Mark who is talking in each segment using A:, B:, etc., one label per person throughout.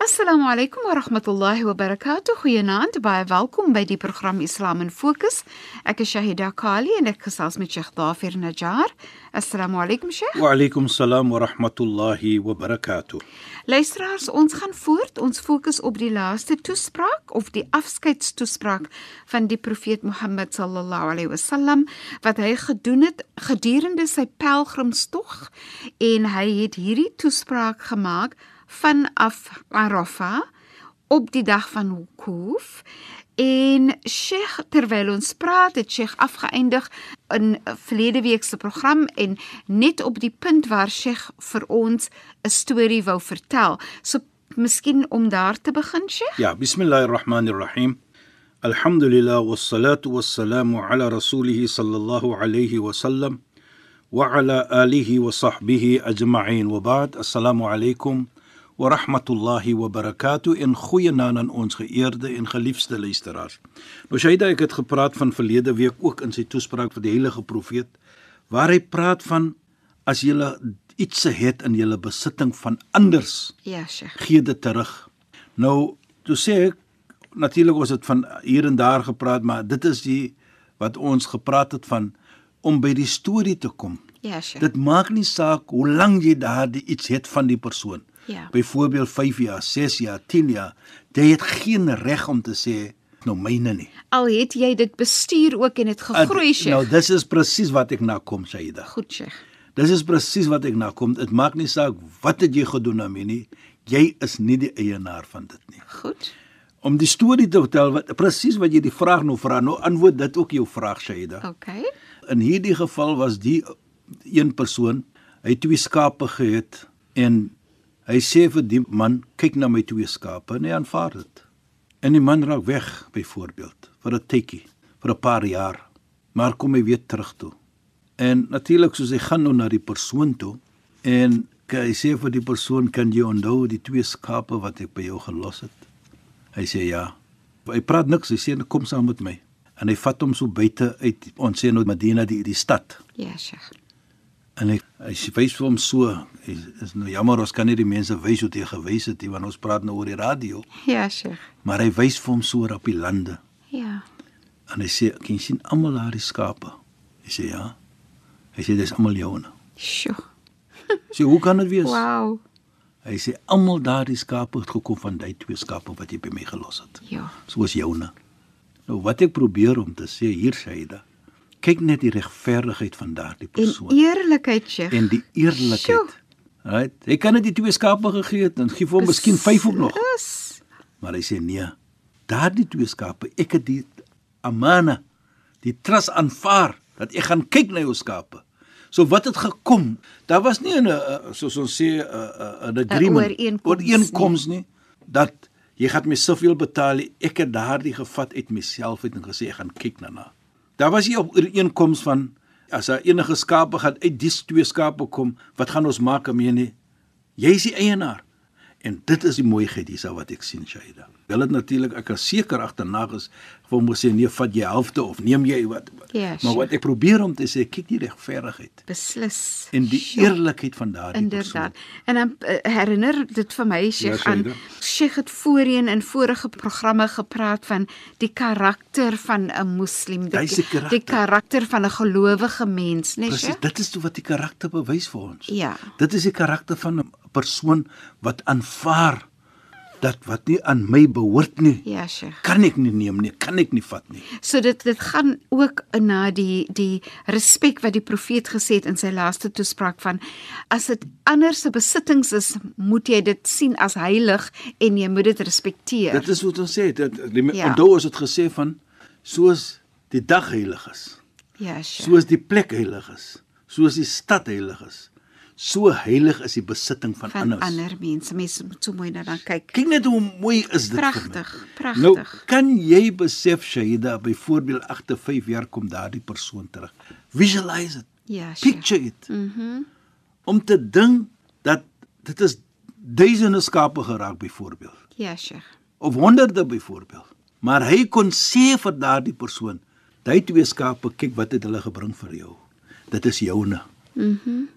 A: Assalamu alaykum wa rahmatullahi wa barakatuh. Goeienaand, baie welkom by die program Islam in Fokus. Ek is Shahida Kali en ek gesels met Sheikh Dafer Najjar. Assalamu alaykum Sheikh.
B: وعليكم السلام ورحمة الله وبركاته
A: Luisteraars, ons gaan voort. Ons fokus op die laaste toespraak of die afskeidstoespraak van die profeet Mohammed sallallahu alaihi wasallam wat hy gedoen het gedurende sy pelgrimstog en hy het hierdie toespraak gemaak vanaf Arafah op die dag van Wukuf en Sheikh terwyl ons praat het Sheikh afgeëindig in verlede week se program en net op die punt waar Sheikh vir ons 'n storie wou vertel. So miskien om daar te begin Sheikh.
B: يا بسم الله الرحمن الرحيم الحمد لله والصلاة والسلام على رسوله صلى الله عليه وسلم وعلى آله وصحبه أجمعين وبعد السلام عليكم ورحمة الله وبركاته en goeienaand aan ons geëerde en geliefde luisteraars. Nou Shaida, ek het gepraat van verlede week ook in sy toespraak vir die heilige profeet waar hy praat van as jy iets het in jou besitting van anders
A: Ja, Sheikh.
B: gee dit terug. Nou, toe sê ek natuurlik ons het van hier en daar gepraat, maar dit is die wat ons gepraat het van om by die storie te kom.
A: Ja, Sheikh.
B: Dit maak nie saak hoe lank jy daardie iets het van die persoon.
A: Ja.
B: Byvoorbeeld 5 jaar, 6 jaar, 10 jaar, jy het geen reg om te sê nou myne nie.
A: Al het jy dit bestuur ook en dit gegroei Sheikh.
B: nou dis is presies wat ek na kom, Shaida.
A: Goed Sheikh.
B: Dis is presies wat ek na kom. Dit maak nie saak wat het jy gedoen daarmee nie. Jy is nie die eienaar van dit nie.
A: Goed.
B: om die storie te vertel wat presies wat jy die vraag nou vra, nou antwoord dit ook jou vraag Shaida.
A: Okay.
B: In hierdie geval was die een persoon, hy het twee skape gehad en hy sê vir die man, kyk na my twee skape en hy aanvaar dit. En die man raak weg byvoorbeeld vir 'n tydjie, vir 'n paar jaar, maar kom hy weer terug toe. En natuurlik soos hy gaan nou na die persoon toe en hy sê vir die persoon, kan jy onthou die twee skape wat ek by jou gelos het? Hy sê ja. Hy praat niks, hy sê kom saam met my. En hy vat hom so buite uit ons sê nou Medina die die stad.
A: Ja, Sheikh.
B: En hy hy sê, wys vir hom so, hy is nou jammer ons kan nie die mense wys hoe dit gewys het nie want ons praat nou oor die radio,
A: Ja, Sheikh.
B: maar hy wys vir hom so op die lande.
A: Ja.
B: En hy sê, "Kan jy sien almal daar die skape?" Hy sê, "Ja." Hy sê, "Dis almal joune."
A: Sjoe.
B: Hy Sê, "Hoe kan dit wees?"
A: Wow.
B: Hy sê, "Almal daar die skape het gekom van daai twee skape wat jy by my gelos het."
A: Ja.
B: soos joune. Nou wat ek probeer om te sê hier Shaida, kyk net die regverdigheid van daardie
A: En
B: persoon en,
A: eerlikheid, Sheikh.
B: en die eerlikheid.
A: Sjoe.
B: Right? Hy kan net die twee skape gegee het en gee vir hom miskien vyf ook nog.
A: Yes.
B: Maar hy sê nee. Daardie twee skape, ek het die amana, die trust aanvaar dat ek gaan kyk na jou skape. So wat het gekom? Daar was nie 'n eh, soos ons sê 'n- 'n 'n agreement
A: ooreenkoms nie.
B: ooreenkoms nie. nie dat jy gaan my soveel betaal. nie. Ek het daardie gevat uit myself uit en gesê ek gaan kyk daarna. Daar was nie 'n ooreenkoms van as daar enige skape gaan uit die twee skape kom, wat gaan ons maak daarmee nie? Jy is die eienaar. En dit is die mooiheid hierso wat ek sien Shaida. Hulle het natuurlik ek is seker agterna is vir hom gesê nee, vat jy helfte of neem jy wat.
A: Ja,
B: maar
A: sure.
B: wat ek probeer om te sê, kyk die regverdigheid
A: Beslis.
B: en die
A: Sjoe.
B: eerlikheid van daardie persoon.
A: Inderdaad. En dan eh, herinner dit vir my Sheikh
B: Ja,
A: aan
B: Saida.
A: Sheikh het voorheen in vorige programme gepraat van die karakter van 'n moslim, die,
B: Hy is die karakter.
A: die karakter van 'n gelowige mens, né, nee,
B: Presies,
A: Sheikh?
B: dit is toe wat die karakter bewys vir ons.
A: Ja.
B: Dit is die karakter van 'n persoon wat aanvaar dat wat nie aan my behoort nie,
A: Ja, Sheikh.
B: kan ek nie neem nie, kan ek nie vat nie.
A: So dit dit gaan ook na die die respek wat die profeet gesê het in sy laaste toespraak van as dit ander se besittings is, moet jy dit sien as heilig en jy moet dit respekteer.
B: Dit is wat ons sê, dat ja.
A: Ja.
B: onthou ons het gesê van soos die dag heilig is,
A: Ja, Sheikh.
B: soos die plek heilig is, soos die stad heilig is, so heilig is die besitting van,
A: van
B: anders.
A: ander mense. Mense moet so mooi na dan kyk.
B: Kyk net hoe mooi is dit. vir my.
A: Pragtig,
B: Nou,
A: pragtig.
B: kan jy besef Shaida byvoorbeeld agter 5 jaar kom daardie persoon terug. Visualize it.
A: Ja, Sheikh.
B: Picture it. Mhm. Mm Om te dink dat dit is duisende skape geraak byvoorbeeld
A: Ja, Sheikh.
B: of honderde byvoorbeeld. Maar hy kon sê vir daardie persoon, "Daai twee skape, kyk wat het hulle gebring vir jou. Dit is joune." Mhm. Mm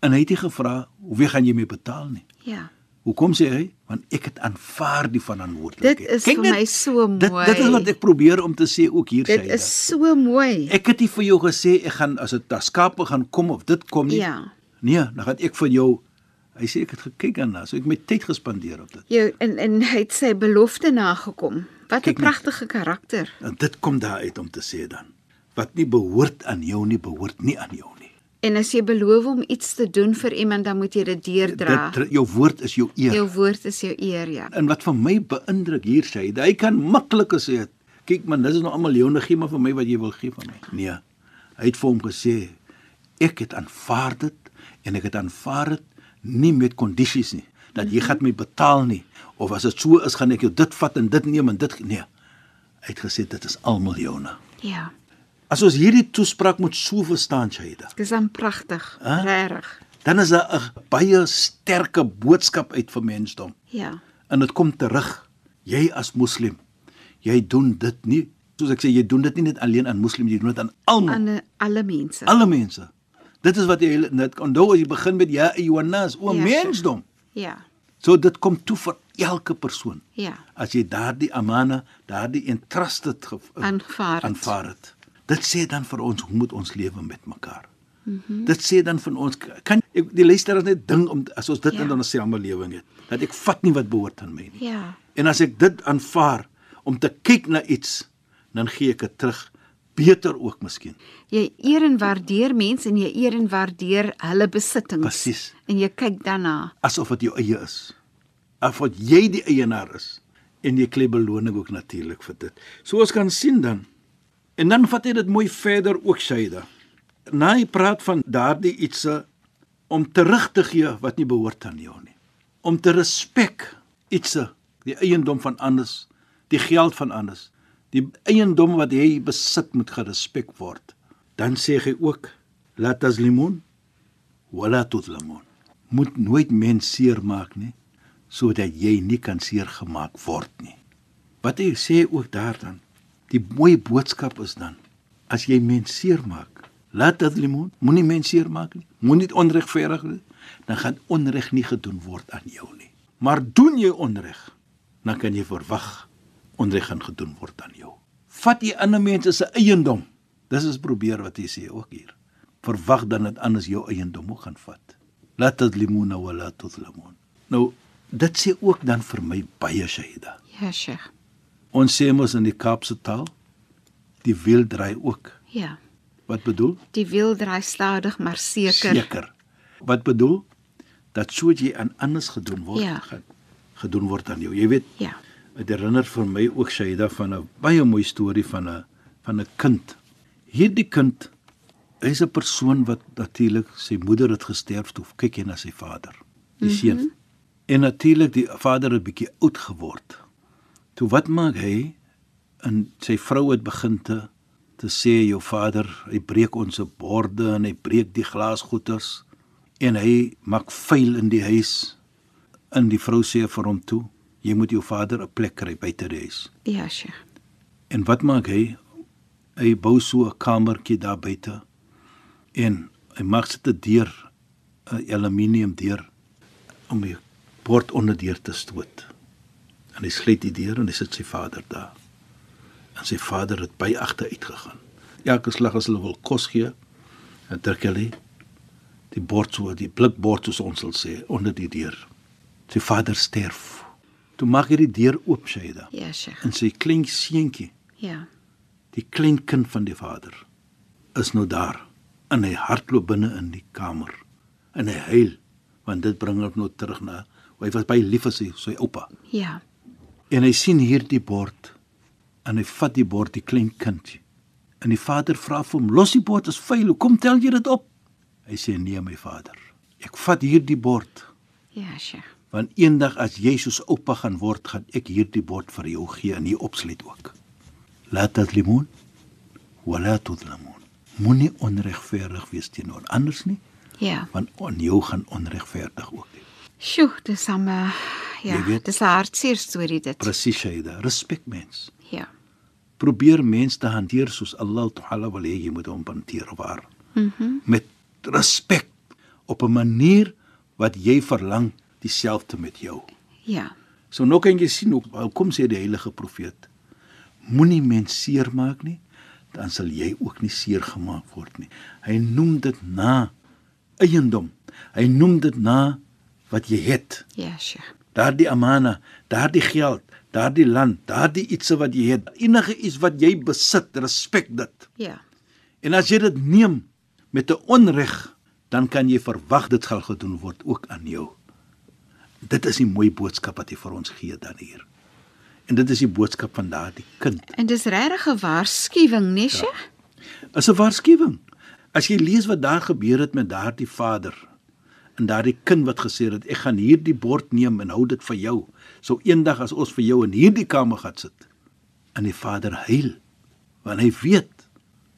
B: en hy het nie gevra, "Hoeveel gaan jy mee betaal nie?"
A: Ja.
B: Hoekom sê hy? Want ek het aanvaar die verantwoordelikheid.
A: Dit is
B: Kyk
A: vir
B: net,
A: my so
B: Dit dit is
A: mooi.
B: wat ek probeer om te sê ook hier
A: Dit
B: Shaida.
A: is so mooi.
B: Ek het nie vir jou gesê ek gaan as 'n skape gaan kom of dit kom nie.
A: Ja.
B: Nee, dan gaan ek vir jou Hy sê ek het gekyk daarna, so ek het my tyd gespandeer op dit.
A: Jou en en hy het sy belofte nagekom. Wat 'n
B: Kyk net.
A: pragtige karakter.
B: En dit kom daar uit om te sê dan wat nie behoort aan jou nie, behoort nie aan jou nie.
A: En as jy beloof om iets te doen vir iemand, dan moet jy dit deurdra.
B: Dit jou woord is jou eer.
A: Jou woord is jou eer, ja.
B: En wat vir my beïndruk hier sê, hy kan maklik gesê het, kyk man, dis nou almal joune gee maar vir my wat jy wil gee van my. Nee. Hy het vir hom gesê, ek het aanvaar dit en ek het aanvaar dit nie met kondisies nie, dat jy gaan my betaal nie of as dit so is gaan ek jou dit vat en dit neem en dit nee. Hy het gesê dit is almal joune.
A: Ja.
B: As ons hierdie toespraak moet so verstaan, Shaida,
A: Dis dan pragtig,
B: Huh?
A: huh? regtig.
B: dan is daar 'n baie sterke boodskap uit vir mensdom.
A: Ja.
B: en dit kom terug. Jy as moslim, jy doen dit nie. Soos ek sê, jy doen dit nie net alleen aan moslim, jy doen dit aan almal,
A: Aan alle mense.
B: alle mense. Dit is wat jy net onthou as jy begin met ja Johannes, o
A: Ja,
B: mensdom.
A: ja.
B: So dit kom toe vir elke persoon.
A: Ja.
B: As jy daardie amana, daardie entrust het ge-
A: Aanvaar het.
B: aanvaar het. Dit sê dan vir ons hoe moet ons lewe met mekaar. Mm
A: Mhm.
B: -hmm. Dit sê dan van ons kan ek, die luisteraars net ding om as ons dit ja.
A: Ja.
B: in ons samelewing het dat ek vat nie wat behoort aan my nie.
A: Ja.
B: En as ek dit aanvaar om te kyk na iets, dan gee ek dit terug beter ook miskien.
A: Jy eer en waardeer mense en jy eer en waardeer hulle besittings.
B: Presies.
A: En jy kyk daarna.
B: asof dit jou eie is. Asof jy die eienaar is en jy kry beloning ook natuurlik vir dit. So ons kan sien dan. En dan vat hy dit mooi verder ook Shaida. Na hy praat van daardie ietsie om terug te gee wat nie behoort aan jou nie. Om te respek ietsie, die eiendom van anders, die geld van anders, die eiendom wat jy besit moet gerespek word. Dan sê hy ook la taslimun wala tudlamun. Moet nooit mens seermaak nie sodat jy nie kan seergemaak word nie. Wat hy sê ook daar dan, die mooi boodskap is dan as jy mens seermaak, laat dat limon moenie mens seermaak nie. Moenie onregverdig doen, dan gaan onreg nie gedoen word aan jou nie. Maar doen jy onreg, dan kan jy verwag onreg gaan gedoen word aan jou. Vat jy ander mense se eiendom. Dis is probeer wat hy sê ook hier verwag dan dat anders jou eiendom ook gaan vat. La tadlimuna wa la tudlamun. Nou, dit sê ook dan vir my baie Shaida.
A: Ja, Sheikh.
B: Ons sê mos in die Kaapse taal, die wiel draai ook.
A: Ja.
B: Wat bedoel?
A: Die wiel draai stadig maar seker.
B: Seker. Wat bedoel? Dat so jy aan anders gedoen word
A: Ja.
B: gaan gedoen word aan jou. Jy weet,
A: Ja.
B: dit herinner vir my ook Shaida van 'n baie mooi storie van 'n van 'n kind. Hierdie kind hy's 'n persoon wat natuurlik sy moeder het gesterf toe kyk hy na sy vader, die mm -hmm. seun. En natuurlik die vader het bietjie oud geword. Toe wat maak hy? En sy vrou het begin te te sê jou vader, hy breek ons borde en hy breek die glasgoeters en hy maak vuil in die huis in die vrou sê vir hom toe, jy moet jou vader 'n plek kry buite die huis.
A: Ja, Sheikh.
B: En wat maak hy? Hy bou so 'n kamertjie daar buite. En hy maak dit 'n deur, 'n aluminium deur om die bord onder deur te stoot. En hy sluit die deur en hy sit sy vader daar. En sy vader het by agter uitgegaan. Elke slag as hulle wil kos gee, dan druk hulle die bord so, die blikbord soos ons sal sê, onder die deur. Sy vader sterf. Toe maak hy die deur oop, Shaida,
A: Ja, Sheikh.
B: en sy klein seentjie,
A: Ja.
B: die klein kind van die vader, is nou daar. En hy hardloop binne in die kamer en hy huil, want dit bring hom nou terug na hy was baie lief vir sy sy oupa.
A: Ja.
B: En hy sien hierdie bord en hy vat die bord die klein kindjie. En die vader vra vir hom: "Los die bord, is vuil. Hoekom tel jy dit op?" Hy sê: "Nee, my vader. Ek vat hierdie bord
A: Ja, Sheikh.
B: want eendag as jy soos oupa gaan word, gaan ek hierdie bord vir jou gee en hier opsluit ook." La tadlimun wa la tudlamun. Moenie onregverdig wees teenoor anders nie,
A: Ja.
B: want aan jou gaan onregverdig ook. nie.
A: Sjoe, dis hom ja,
B: Jy weet-
A: dis 'n hartseer storie dit.
B: Presies, Shaida. Respek mens.
A: Ja.
B: probeer mens te hanteer soos Allah Taala wil hê jy moet hom hanteer waar. Mhm. Mm met respek op 'n manier wat jy verlang dieselfde met jou.
A: Ja.
B: So nou kan jy sien hoe kom sê die heilige profeet moenie mens seermaak nie, dan sal jy ook nie seer gemaak word nie. Hy noem dit na eiendom. Hy noem dit na wat jy het
A: Ja, Sheikh.
B: daardie amana, daardie geld, daardie land, daardie ietsie wat jy het, enige iets wat jy besit, respek dit.
A: Ja.
B: En as jy dit neem met 'n onreg, dan kan jy verwag dit sal gedoen word ook aan jou. Dit is die mooi boodskap wat hy vir ons gee dan hier. En dit is die boodskap van daardie kind.
A: En dis regtig 'n waarskuwing,
B: Ja.
A: nee, Sheikh?
B: is 'n waarskuwing. As jy lees wat daar gebeur het met daardie vader en daardie kind wat gesê het ek gaan hierdie bord neem en hou dit vir jou. So eendag as ons vir jou in hierdie kamer gaan sit en die vader huil want hy weet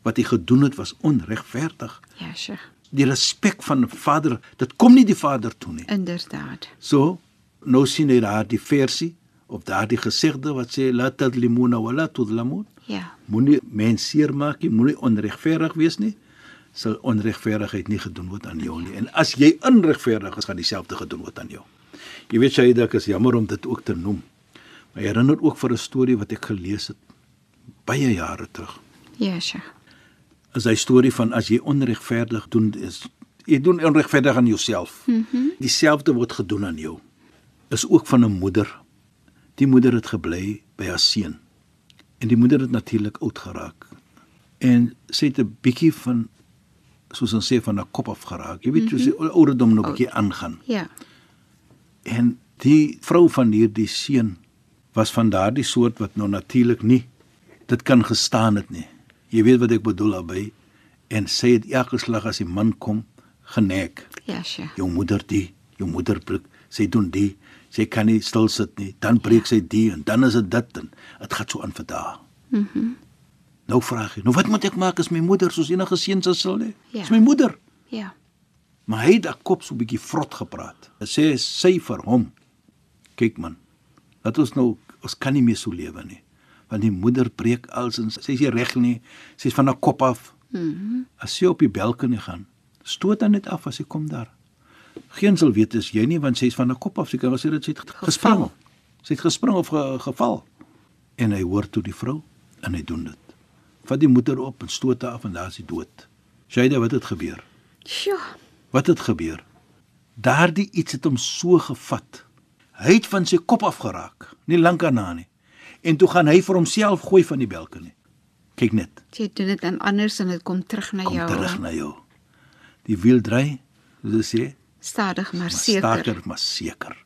B: wat hy gedoen het was onregverdig.
A: Ja, Sheikh.
B: Die respek van 'n vader, dit kom nie die vader toe nie.
A: Inderdaad.
B: So nou sien hy daardie versie of daardie gesegde wat sê la tadlimuna wa la tudlamun.
A: Ja.
B: Moenie mens seermaak nie, moenie onregverdig wees nie. Sal onregverdigheid nie gedoen word aan jou nie. En as jy onregverdig is, gaan dieselfde gedoen word aan jou. Jy weet Shaida, ek is jammer om dit ook te noem. Maar ek herinner ook vir 'n storie wat ek gelees het baie jare terug.
A: Ja, Sheikh.
B: Is hy storie van as jy onregverdig doen is jy doen onregverdig aan jouself. Mm -hmm. Dieselfde word gedoen aan jou. Is ook van 'n moeder. Die moeder het gebly by haar seun. En die moeder het natuurlik oud geraak. En sy het 'n bietjie van soos ons sê van haar kop af geraak. Jy weet, soos die ou- ouderdom nou 'n bietjie aangaan.
A: Ja.
B: En die vrou van hierdie seun was van daardie soort wat nou natuurlik nie dit kan gestaan het nie. Jy weet wat ek bedoel daarmee. En sy het elke slag as die man kom genek
A: Ja, Sheikh.
B: jou moeder die, jou moeder breek, sy doen die, sy kan nie stil sit nie, dan breek sy die en dan is dit dit en dit gaan so aan vir dae. Mhm. Mm nou vra ek, nou wat moet ek maak as my moeder soos enige seun sou sal hê?
A: Ja.
B: Dis my moeder.
A: Ja.
B: Maar hy het daai kop so 'n bietjie vrot gepraat. Hy sê sy vir hom, kyk man, dat ons nou ons kan nie meer so lewe nie. Want die moeder breek alsins, sy is nie reg nie. Sy's van haar kop af. Mhm. Mm as sy op die balkonie gaan, stoot dan net af as sy kom daar. Geen sal weet as jy nie want sy's van haar kop af. Sy kan gesê dat sy het gespring. Sy het gespring of ge, geval. En hy hoor toe die vrou en hy doen dit. Vat die moeder op en stoot haar af en daar's die dood. Shaida, wat het gebeur?
A: Sjoe.
B: Wat het gebeur? Daardie iets het hom so gevat. Hy het van sy kop af geraak, nie lank daarna nie. En toe gaan hy vir homself gooi van die balkonie. Kyk net,
A: Jy doen dit aan anders en dit kom terug na
B: kom
A: jou.
B: terug na jou. Die wiel draai, soos hulle sê,
A: Stadig maar
B: maar
A: seker.
B: staker, maar seker.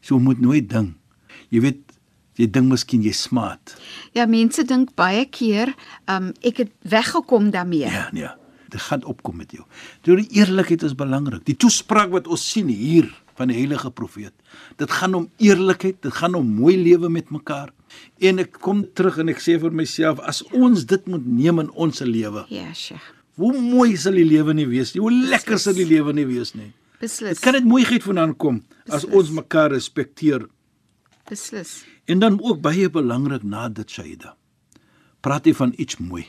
B: So moet nooit ding. Jy weet, jy ding miskien jy smaat.
A: Ja, mense dink baie keer, um ek het weggekom daarmee.
B: Ja, nee. Dit gaan opkom met jou. Deur die eerlikheid is belangrik. Die toespraak wat ons sien hier van die heilige profeet. Dit gaan om eerlikheid, dit gaan om mooi lewe met mekaar. En ek kom terug en ek sê vir myself, as ons dit moet neem in ons se lewe,
A: Ja, Sheikh.
B: hoe mooi sal die lewe nie wees nie. Hoe lekker sal die lewe nie wees nie.
A: Beslis.
B: Dit kan net mooiheid vandaan kom as ons mekaar respekteer.
A: Beslis.
B: En dan ook baie belangrik na dit Shaida. Praat hy van iets mooi.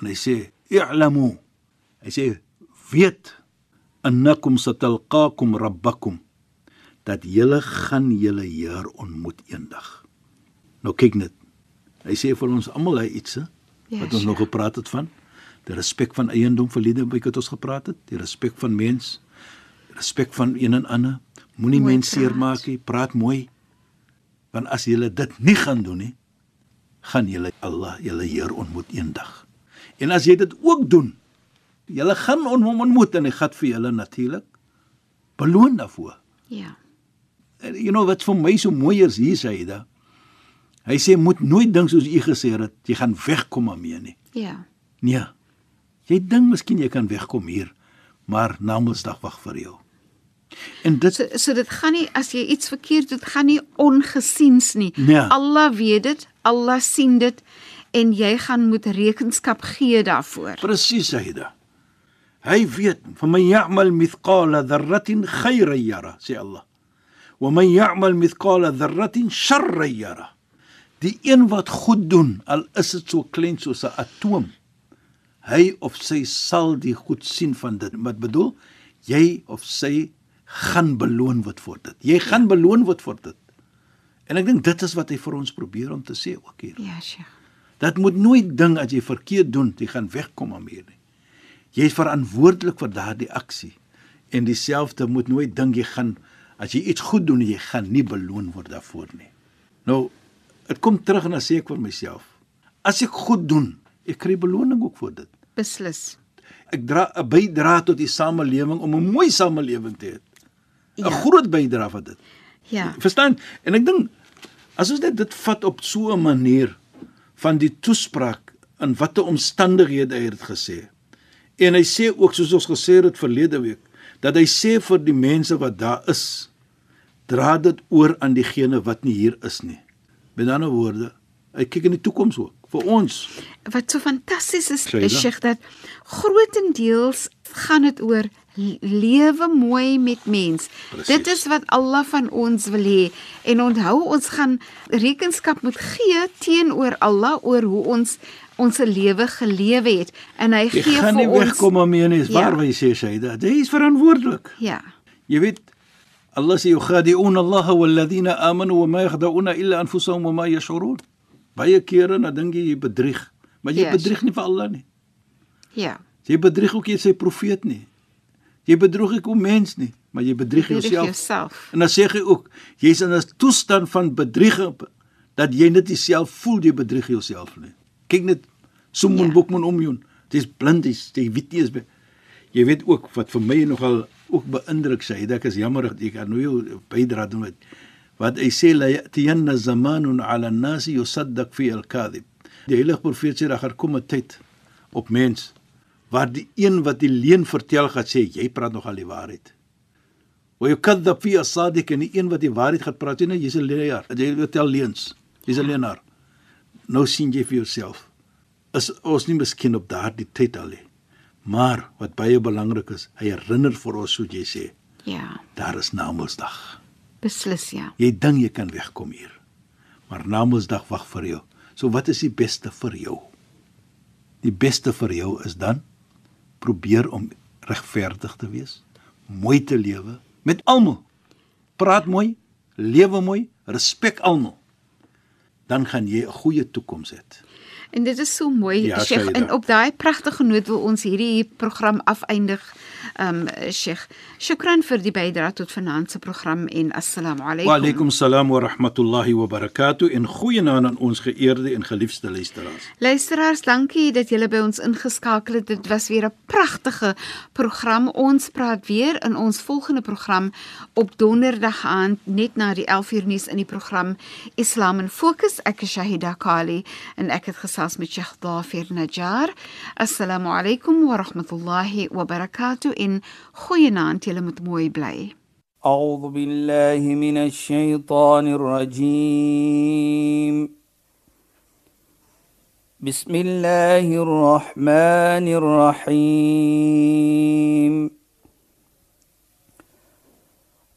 B: En hy sê, "I'lamu." Hy sê, "Weet annakum satalqakum rabbakum." Dat julle gaan julle Heer ontmoet eendag. Nou kyk net. Hy sê vir ons almal hy iets, hè?
A: Ja,
B: wat ons
A: Sheikh.
B: nog gepraat het van die respek van eiendom verlede week het ons gepraat het, die respek van mens, respek van een en ander. Moenie
A: Mooi
B: mense
A: praat.
B: seermaak nie, praat mooi. Want as julle dit nie gaan doen nie, gaan julle Allah, julle Heer ontmoet eendag. En as jy dit ook doen, julle gaan on- hom ontmoet en hy gaan vir julle natuurlik beloon daarvoor.
A: Ja.
B: En you know wat vir my so mooi is hier Saida. Hy sê moet nooit dink soos u gesê het, jy gaan wegkom daarmee nie.
A: Ja.
B: Nee. Jy dink miskien jy kan wegkom hier, maar na Mondsdag wag vir jou. En dit
A: So so dit gaan nie as jy iets verkeerd doen, gaan nie ongesiens nie.
B: Ja.
A: Allah weet dit, Allah sien dit en jy gaan moet rekenskap gee daarvoor.
B: presies Saida. Hy weet, "Fa man ya'mal mithqala dharratin khayran yara," sê Allah. "Wa man ya'mal mithqala dharratin sharran yara." Die een wat goed doen, al is dit so klein soos 'n atoom, hy of sy sal die goed sien van dit. Wat bedoel? Jy of sy gaan beloon word vir dit. Jy gaan beloon word vir dit. En ek dink dit is wat hy vir ons probeer om te sê ook hier.
A: Ja, Sheikh.
B: Dat moet nooit ding as jy verkeerd doen, jy gaan wegkom daarmee nie. Jy is verantwoordelik vir daardie aksie. En dieselfde moet nooit dink jy gaan as jy iets goed doen, jy gaan nie beloon word daarvoor nie. Nou, dit kom terug en dan sê ek vir myself, as ek goed doen, ek kry beloning ook vir dit.
A: Beslis.
B: Ek dra 'n bydrae tot die samelewing om 'n mooi samelewing te hê. 'n ja. Groot bydrae van dit.
A: Ja.
B: Verstaan? En ek dink as ons dit dit vat op so 'n manier van die toespraak in watter omstandighede hy dit gesê. En hy sê ook soos ons gesê het verlede week dat hy sê vir die mense wat daar is, dra dit oor aan diegene wat nie hier is nie. Met ander woorde, hy kyk in die toekoms ook vir ons.
A: Wat so fantasties is,
B: Shaila?
A: is Sheikh dat grootendeels gaan dit oor le- lewe mooi met mens.
B: Precies.
A: Dit is wat Allah van ons wil hê en onthou ons gaan rekenskap moet gee teenoor Allah oor hoe ons ons lewe gelewe het en hy
B: Jy
A: gee
B: gaan
A: vir
B: nie
A: ons
B: wegkom daarmee nie, is
A: Ja.
B: waar ja. hy sê sy dat hy is verantwoordelik.
A: Ja.
B: Jy weet Allah sê yukhadi'un Allah walladhina amanu wama yakhda'una illa anfusahum wama yash'urun. Baie kere dan dink jy jy bedrieg, maar jy
A: Yes.
B: yes. bedrieg nie vir Allah nie.
A: Ja.
B: Jy bedrieg ook nie sy profeet nie. Jy bedroeg ook 'n mens nie, maar jy bedrieg
A: Bedrieg
B: jouself.
A: jouself.
B: En dan sê hy ook, jy's in 'n toestand van bedrieg dat jy net jouself voel jy bedrieg jouself nie. Kyk net Sumun
A: Ja.
B: yeah. Bokman omjoen. Dis blind, dis jy weet nie eens by. Jy weet ook wat vir my nogal ook beïndruk sê, ek is jammer dat ek aan jou bydra doen wat wat hy sê la yatiyanna zamanun ala an-nas yusaddaq fi al-kadhib. Die heilige profeet sê daar gaan kom 'n tyd op mens waar die een wat die leuen vertel gaan sê jy praat nogal die waarheid. Wa yukadhab fi as-sadiq en die een wat die waarheid gaan praat, jy nou jy's 'n leienaar. Jy vertel leuns. Jy's 'n leienaar. Nou sien jy vir jouself. Is ons nie miskien op daardie tyd al nie. Maar wat baie belangrik is, hy herinner vir ons hoe jy sê,
A: Ja.
B: daar is Namedsdag.
A: Beslis ja.
B: Jy dink jy kan wegkom hier. Maar Namedsdag wag vir jou. So wat is die beste vir jou? Die beste vir jou is dan probeer om regverdig te wees, mooi te lewe met almal. Praat mooi, lewe mooi, respek almal. Dan gaan jy 'n goeie toekoms hê.
A: En dit is so mooi,
B: Ja,
A: ja, Sheikh.
B: Shaida.
A: En op daai pragtige noot wil ons hierdie program afeindig. Ehm um, Sheikh, shukran vir die bydrae tot vanaand se program en assalamu alaykum.
B: Wa alaykum salaam wa rahmatullahi wa barakatuh en goeienaand aan ons geëerde en geliefde luisteraars.
A: Luisteraars, dankie dat julle by ons ingeskakel het. Dit was weer 'n pragtige program. Ons praat weer in ons volgende program op donderdag aand net na die 11uur nuus in die program Islam in Fokus. Ek is Shahida Kali en ek het gesels met Sheikh Dafer Najjar. Assalamu alaykum wa rahmatullahi wa barakatuh en goeienaand. Julle moet mooi bly.
C: أعوذ بالله من الشيطان الرجيم بسم الله الرحمن الرحيم